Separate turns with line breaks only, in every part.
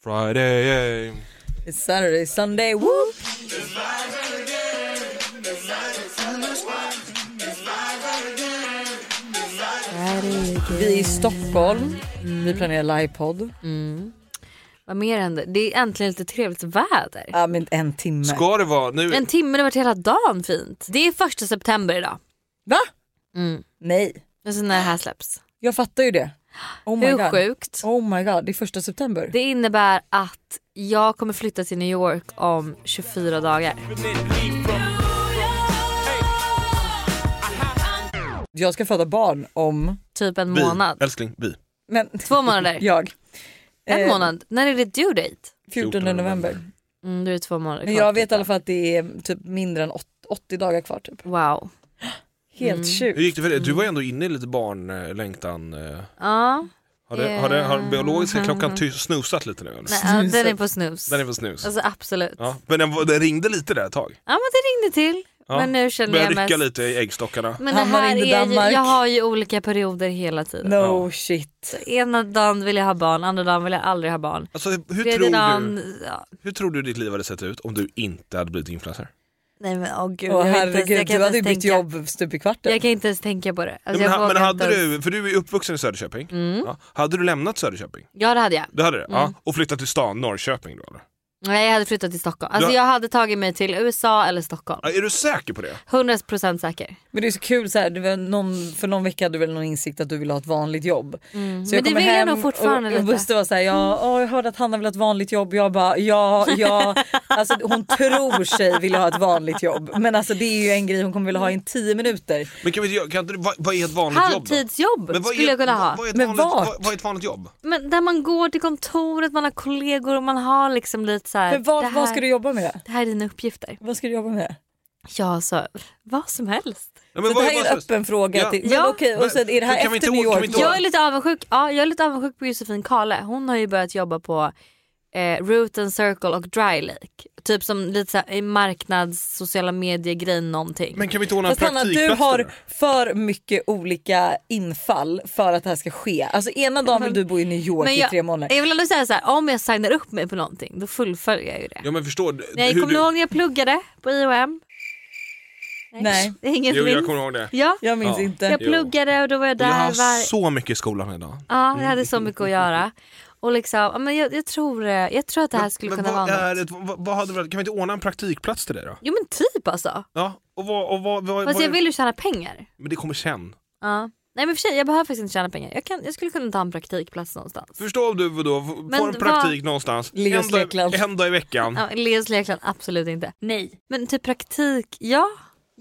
Friday. eh.
It's Saturday, Sunday, whoop! Vi är i Stockholm, vi planerar livepodd.
Vad mer händer? Det är äntligen lite trevligt väder.
Ja men en timme.
Ska det vara nu?
En timme, det har varit hela dagen fint. Det är första september idag.
Va?
Mm.
Nej,
Alltså när det här släpps.
jag fattar ju det. Oh my
Hur
god.
sjukt?
Oh my god, det är första september.
Det innebär att jag kommer flytta till New York om 24 dagar.
Jag ska föda barn om...
Typ en
vi.
månad.
Älskling, vi.
Men,
Två månader.
jag.
En
Eh,
månad. När är det due date?
14
november.
november.
Mm, då är det två månader
Men
kvar.
jag vet i alla fall att det är typ mindre än åt- 80 dagar kvar typ.
Wow.
Helt
Mm.
Hur
sjukt.
gick det för dig? Du var ändå inne i lite barnlängtan. eh.
Ja,
Har, det, har, det, har biologiska klockan ty- snusat lite nu? Eller?
Eh. nej, ja, den är på snus.
Den är på snus.
Alltså absolut. Ja.
Ja. Men den, var- den ringde lite där ett tag.
men det ringde till.
Ja.
Men nu känner
Började
jag
rycka
mest... Mm.
lite i äggstockarna.
Men det
Hamnar
här
in i
är ju,
Danmark.
jag har ju olika perioder hela tiden.
No shit.
Ena dagen vill jag ha barn, andra dagen vill jag aldrig ha barn.
Alltså, hur,
Tredje
tror
dagen...
du,
Ja.
hur tror du ditt liv hade sett ut om du inte hade blivit influencer?
Alltså, Nej men åh gud.
Åh
jag vet inte ens-
herregud,
jag kan
du hade ju
inte ens
bytt
tänka-
jobb stup i kvarten.
Jag kan inte ens tänka på det. Alltså,
men ha-
jag
men
vågar
hade
inte ens- Mm.
du, för du är ju uppvuxen i Söderköping. Ja. Hade du lämnat Söderköping?
Ja det hade jag.
Det hade du?
Mm.
Ja. Och flyttat till stan, Norrköping då eller?
Nej, jag hade flyttat till Stockholm. Alltså,
Du-
Jag hade tagit mig till USA eller Stockholm.
Ja, Är du säker på det?
100% säker.
Men det är så kul, så här, det var någon, för någon vecka hade du väl någon insikt att du ville ha ett vanligt jobb. Så
Mm. Men det
kommer
vill jag
hem
nog fortfarande
och, och
lite.
Buster var såhär, ja, åh, jag hörde att Hanna vill ha ett vanligt jobb. Jag bara, ja, ja. Alltså, hon tror sig vilja ha ett vanligt jobb. Men alltså, det är ju en grej hon kommer vilja ha i tio minuter.
Men kan vi, inte göra- kan inte, du- vad, vad är ett vanligt jobb då?
Halvtidsjobb
vad är-
skulle jag kunna ha.
Vad, vad, är ett
Men
vanligt,
vart?
vad, vad är ett vanligt jobb?
Men där man går till kontoret, man har kollegor och man har liksom lite så här,
Men vad,
det här,
vad ska du jobba med?
det här är dina uppgifter.
Vad ska du jobba med?
Ja, alltså, så vad som helst.
Ja, men
Så det
vad-
här är
vad-
en öppen fråga.
Ja.
Till,
Ja.
men okej, och sen är det här
Kan vi inte
efter New
å- kan
York?
vi inte
då?
å-
Jag är lite avundsjuk, ja, jag är lite avundsjuk på Josefin Kale. Hon har ju börjat jobba på eh, Root and Circle och Dry Lake. Typ som lite så här, eh, marknads, sociala medier-grej någonting.
Men kan vi inte ordna en
Fast Hanna,
praktikplats?
du
då?
har för mycket olika infall för att det här ska ske. Alltså ena dagen vill du bo i New York
Men jag,
i tre månader.
jag vill ändå säga så här, om jag signar upp mig på någonting då fullföljer jag ju det.
Ja men förstår du-
Nej,
hur
kommer ni
du...
ihåg när jag pluggade på IOM?
Nej.
Det är inget
Jo, jag
minns.
kommer ihåg det.
Ja,
Jag minns
Ja.
inte.
jag
Jo.
pluggade och då var jag där.
Jag har
var...
så mycket i skolan idag.
Ja, jag hade så mycket att göra. Och liksom, ja, men jag, jag, tror, eh, jag tror att det här skulle
men,
kunna
vad
vara
är
något.
ett, vad, vad hade, vi- Kan vi inte ordna en praktikplats till dig då?
Jo men typ alltså.
Ja, och vad, och vad, vad,
Fast
vad
jag vill ju tjäna pengar.
Men det kommer sen.
Ja. Nej men för sig, jag behöver faktiskt inte tjäna pengar. Jag, kan, jag skulle kunna ta en praktikplats någonstans.
Förstå om du då får
Men
en praktik någonstans
Ligga och
en dag,
släckland.
en dag i veckan.
Ja, Leos Lekland, absolut inte. Nej. Men typ praktik, ja.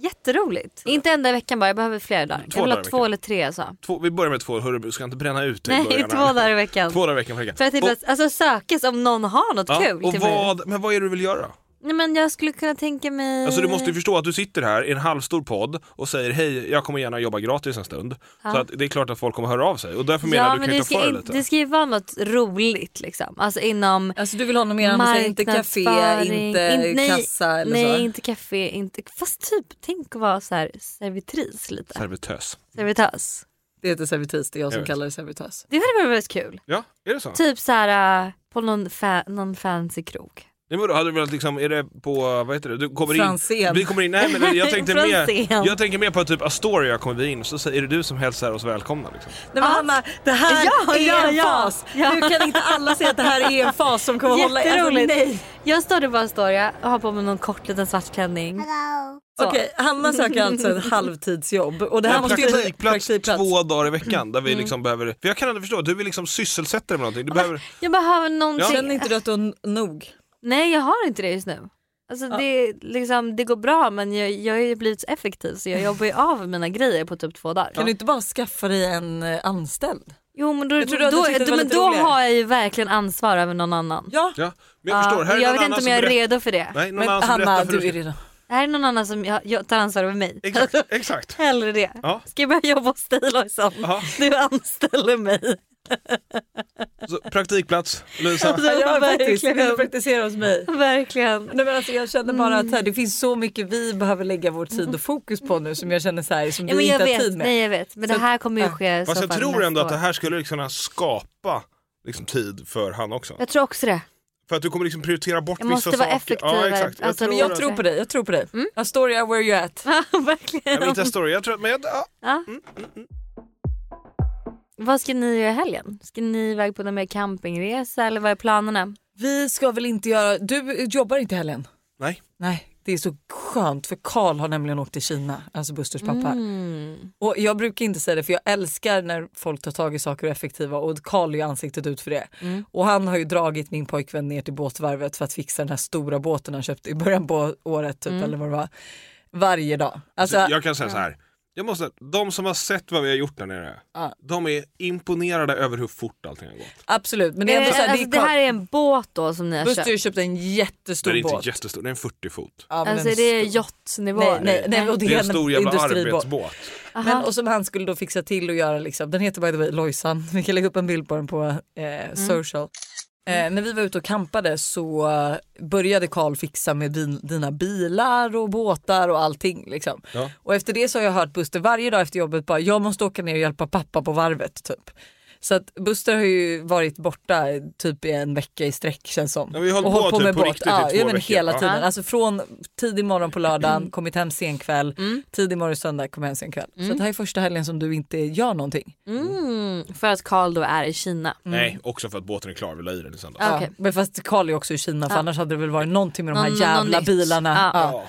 Jätteroligt. Inte en dag i veckan bara, jag behöver fler dagar.
Två
jag vill
dagar
ha
i
två
veckan. Typ
eller tre alltså.
Två, vi börjar med två, hörru, du ska inte bränna ut dig i
Nej,
början
två
här.
dagar i veckan.
Två dagar i veckan. För veckan.
För att
Och-
typ, alltså sökes om någon har något
ja,
kul
och
till mig.
vad, Men vad är det du vill göra?
Nej men jag skulle kunna tänka mig...
Alltså du måste ju förstå att du sitter här i en halvstor podd och säger hej, jag kommer gärna jobba gratis en stund. Så att det är klart att folk kommer höra av sig och därför menar
ja,
du
men
kan ju
det
ta
ska,
för dig
in,
lite.
det ska ju vara något roligt liksom. Alltså inom
Alltså du vill ha något mer annat, säg inte café,
marknadsföring,
inte
in- nej,
kassa eller
Nej,
så.
inte café, inte... Fast typ, tänk att vara så här servitris lite.
Servitös.
Servitös.
Det heter servitris, det är jag som
vet.
kallar det servitös.
Det hade varit väldigt kul.
Ja, är det så?
Typ så här eh, på någon, fa- någon fancy krog.
Nej, men då hade du velat liksom, är det på, vad heter det, du kommer in,
Franzén.
vi kommer in, nej men jag tänkte mer,
Franzén.
jag tänker mer på typ Astoria kommer vi in, så säger är det du som hälsar oss välkomna liksom.
Nej, men Hanna, det här
Ah. Ja,
är
ja,
en
ja.
fas.
Ja.
Nu kan inte alla säga att det här är en fas som kommer hålla. Alltså,
Jätteroligt.
nej.
Jag står där på Astoria och har på mig någon kort liten svart klänning. Så.
Okej, Hanna söker alltså ett halvtidsjobb och det här
Men
måste ju
praktikplats, två dagar i veckan där vi
Mm.
liksom behöver, för jag kan ändå förstå att du vill liksom sysselsätta dig med någonting, du behöver,
Jag behöver någonting.
Känner inte du att du har nog?
Nej jag har inte det just nu. Alltså det, är liksom, det går bra men jag, jag har ju blivit så effektiv så jag jobbar ju av mina grejer på typ två dagar.
Kan du inte bara skaffa dig en eh, anställd?
Jo men då,
Jag trodde du hade
då,
tyckt att det var
men
lite
då
roligare.
har jag ju verkligen ansvar över någon annan.
Ja,
ja, men jag förstår,
Ja,
här är
jag
någon annan
vet inte om
som
jag är
berätt-
redo för det.
Nej, någon
men
annan som
Hanna
berättar för
du
dig.
är redan...
Det här är någon annan som jag, jag tar ansvar över mig.
Exakt, exakt.
Hellre det.
Ja.
Ska jag börja jobba hos dig Lojsan?
Ja.
Du anställer mig.
Så, praktikplats, Lisa.
Alltså,
Ja, jag faktiskt,
verkligen.
vill praktisera hos mig.
Verkligen.
Nej, men alltså, jag känner bara att så
Mm.
här, det finns så mycket vi behöver lägga vår tid och fokus på nu som jag känner så här, som
Ja,
vi
men
inte
jag
har
vet,
tid med.
nej jag vet. Men det här kommer ju
ja.
ske i så
Fast jag
fall
tror
nästa
ändå att det
år.
här skulle kunna skapa liksom, tid för han också.
Jag tror också det.
För att du kommer liksom prioritera bort
Jag
vissa
måste vara
saker.
effektivare.
Ja, exakt. Jag
Alltså,
tror
men
Jag
att-
tror på dig, jag tror på dig.
Mm.
Astoria where you at.
Jag vill
Verkligen.
inte story. Jag tror, men jag, ja.
Ja.
Mm,
Vad ska ni göra i helgen? Ska ni iväg på någon mer campingresa eller vad är
Mm.
planerna?
Vi ska väl inte göra, du jobbar inte helgen?
Nej.
Nej, det är så skönt för Karl har nämligen åkt till Kina, alltså Busters pappa.
Mm.
Och jag brukar inte säga det för jag älskar när folk tar tag i saker och är effektiva och Karl är ju ansiktet ut för det.
Mm.
Och han har ju dragit min pojkvän ner till båtvarvet för att fixa den här stora båten han köpte i början på året
Mm.
typ, eller vad det var. Varje dag. Alltså,
jag kan säga så här. Jag måste, de som har sett vad vi har gjort där nere,
Ja.
de är imponerade över hur fort allting har gått.
Absolut, men det är ändå
Eh,
så här,
alltså,
det
det
är
här
Karl.
är en båt då som ni har
Buster har
köpt?
ju köpt en
Den är
jättestor
inte
båt.
jättestor, den är 40 fot.
Ja, men
Alltså
den
är Mm. det
stor.
yachtnivå?
Nej, nej, nej, och det,
Det är en
en
stor jävla
industribåt.
arbetsbåt.
Men, och som han skulle då fixa till och göra liksom. Den heter by the way Lojsan. Vi kan lägga upp en bild på den på eh,
Mm.
social. Eh, när vi var ute och campade så eh, började Karl fixa med din, dina bilar och båtar och allting. Liksom.
Ja.
Och efter det så har jag hört Buster varje dag efter jobbet bara jag måste åka ner och hjälpa pappa på varvet typ. Så att Buster har ju varit borta typ i en vecka i sträck känns som.
Ja, vi har hållit
och
på typ på riktigt i
ja,
två
ja, men
veckor.
hela
Ja. Mm.
tiden. Alltså från tidig morgon på lördagen, kommit hem sen kväll, tidig morgon söndag, kom hem sen kväll. Så att det här är första helgen som du inte gör någonting.
Mm, för att Karl då är i Kina.
Nej, också för att båten är klar, vi la i den i söndags.
Ja. Okej.
Mm. Ja, men fast Karl är också i Kina för annars hade det väl varit någonting med de här
Någon-
jävla
någon nytt.
bilarna.
Ja.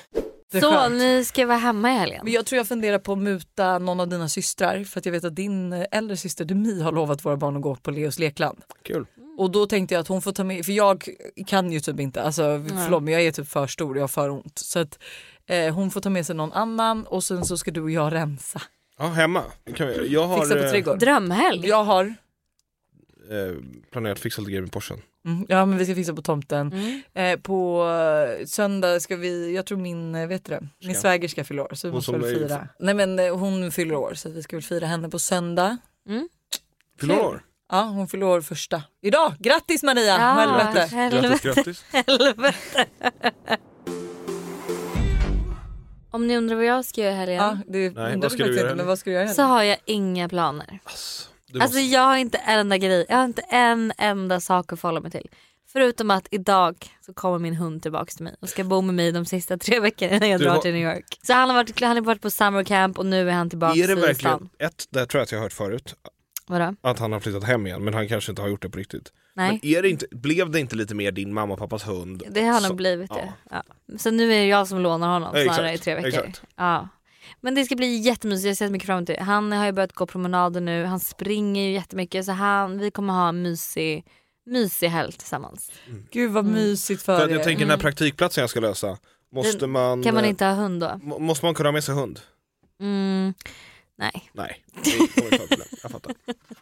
det är
Så
skönt.
ni ska vara hemma i helgen?
Men jag tror jag funderar på att muta någon av dina systrar för att jag vet att din äldre syster Demi har lovat våra barn att gå på Leos lekland.
Kul.
Och då tänkte jag att hon får ta med, för jag kan ju typ inte, alltså, förlåt men jag är typ för stor, jag har för ont. Så att eh, hon får ta med sig någon annan och sen så ska du och jag rensa.
Ja, hemma. Det kan vi göra. Jag har
Fixa på
eh,
trädgården.
Drömhelg?
Jag har,
eh, planerat att fixa lite grejer med Porschen.
mm, ja men vi ska fixa på tomten.
Mm.
Eh, på eh, söndag ska vi, jag tror min, eh, vet du det, min
Ska.
svägerska fyller år så vi
Hon
måste
som
väl
är-
fira. Nej men eh, hon fyller år så vi ska väl fira henne på söndag.
Fyller
Kul.
år.
Ja, hon fyller år första idag. Grattis Maria!
Ja,
Helvete.
Grattis,
helvete,
grattis.
helvete. Om ni undrar vad jag ska göra i helgen
Ja, det
vad
undrar
ska
jag
du
inte,
göra?
men vad ska du göra?
så har jag inga planer.
Ass, du
Alltså
måste-
jag har inte en enda grej, jag har inte en enda sak att förhålla mig till. Förutom att idag så kommer min hund tillbaka till mig och ska bo med mig de sista tre veckorna innan jag
Du
drar
har-
till New York. Så han har varit, han har varit på summer camp och nu är han tillbaka
Är det
i stan.
verkligen, ett, det tror jag att jag har hört förut,
Vadå?
att han har flyttat hem igen men han kanske inte har gjort det på riktigt.
Nej.
Men är det inte, blev det inte lite mer din mamma och pappas hund?
Det har
Så-
nog blivit det.
ja.
Ja. Så nu är det jag som lånar honom
Ja,
snarare
exakt,
i tre veckor.
exakt.
Ja. Men det ska bli jättemysigt, jag ser mycket fram emot det. Han har ju börjat gå promenader nu, han springer ju jättemycket så han, vi kommer ha en mysig, mysig helg tillsammans.
Gud
Mm.
vad mysigt för,
För att
er.
jag tänker den här praktikplatsen jag ska lösa, måste
Den-
man,
Kan man inte ha hund då?
eh, må- måste man kunna ha med sig hund?
Mm, nej.
Nej, det kommer inte vara problem. Jag fattar.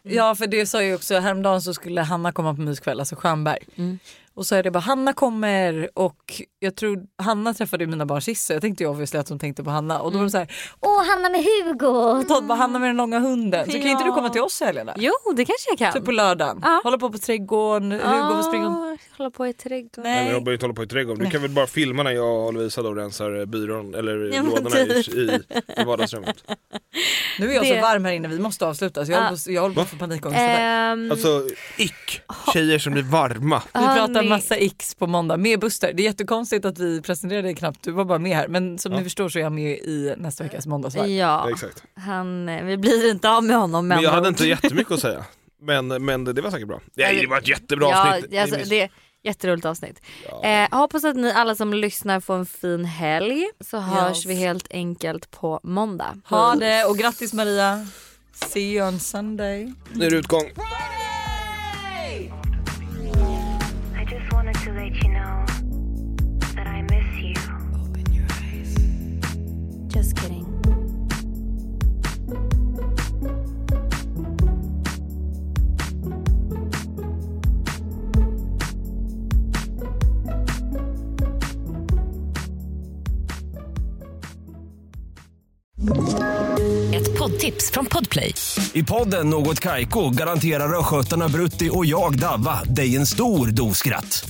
Ja för det sa jag ju också, häromdagen så skulle Hanna komma på myskväll, alltså Stjernberg.
Mm.
Och så är det bara Hanna kommer och jag tror Hanna träffade ju mina barn sist så jag tänkte ju obviously att hon tänkte på Hanna och då var de så
Mm.
här,
Åh, Hanna med Hugo!
och Todd bara Hanna med den långa hunden. Så kan inte du
Ja.
komma till oss i helgen då?
Jo det kanske jag kan.
Typ på lördagen,
Ja.
hålla på på trädgården, Hugo får springa om.
Ah, Hålla på i trädgården.
Nej, men de behöver inte hålla på i trädgården. Du kan väl bara filma när jag och Lovisa då rensar eh, byrån eller
Ja, men
lådorna
typ.
i, i, i vardagsrummet.
Nu är jag så
Det- Ah.
varm här inne, vi måste avsluta så jag,
Ja.
håller, på, jag håller på att få panikångest.
Ehm,
Alltså ick, tjejer som blir varma.
Vi
Eh, hörni,
pratar massa x på måndag med Buster. Det är jättekonstigt att vi presenterade dig knappt, du var bara med här. Men som ni förstår så är jag med i nästa veckas måndagsvarv.
Ja,
Exakt.
han, eh, vi blir inte av med honom.
Men jag
andra
hade
ord.
inte jättemycket att säga. Men, men det det var säkert bra. Nej,
men-
det var ett jättebra avsnitt.
Ja, alltså,
Ni miss-
det är ett jätteroligt avsnitt. Eh, hoppas att ni alla som lyssnar får en fin helg. Så hörs vi helt enkelt på måndag.
Ha det och grattis Maria. See you on Sunday.
Nu är det utgång.
I just wanted to let you know that I miss you.
Just kidding.
Ett poddtips från Podplay.
I podden Något Kaiko garanterar östgötarna Brutti och jag, Davva, dig en stor dos skratt.